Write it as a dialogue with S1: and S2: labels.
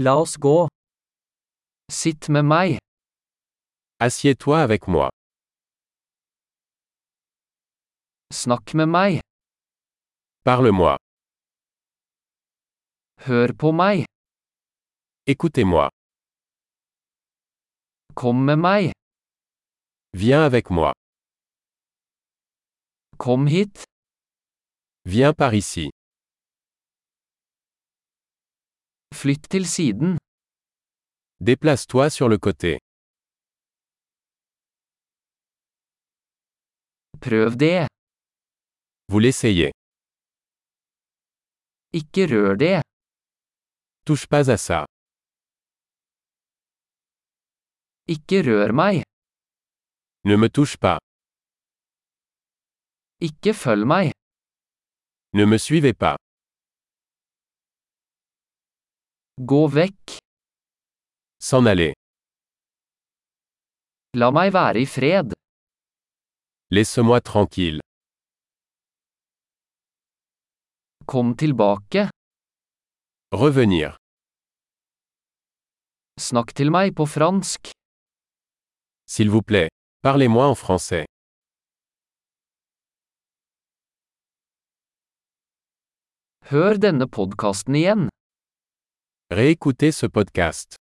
S1: La oss gå. Sitt med meg.
S2: Assieds-toi avec moi.
S1: Snakk med meg.
S2: Parle-moi.
S1: Hør på meg.
S2: Écoutez-moi.
S1: Kom med meg.
S2: Viens avec moi.
S1: Kom hit.
S2: Viens par ici.
S1: Flytt til siden.
S2: Déplace-toi sur le côté.
S1: Prøv det.
S2: Vous l'essayez.
S1: Ikke rør det.
S2: Touche pas à ça.
S1: Ikke rør meg.
S2: Ne me touche pas.
S1: Ikke følg meg.
S2: Ne me suivez pas.
S1: Gå vekk.
S2: S'en aller.
S1: La meg være i fred.
S2: Laisse-moi tranquille.
S1: Kom tilbake.
S2: Revenir.
S1: Snakk til meg på fransk.
S2: S'il vous plaît. Parlez-moi en français.
S1: Hør denne podkasten igjen.
S2: Réécoutez ce podcast.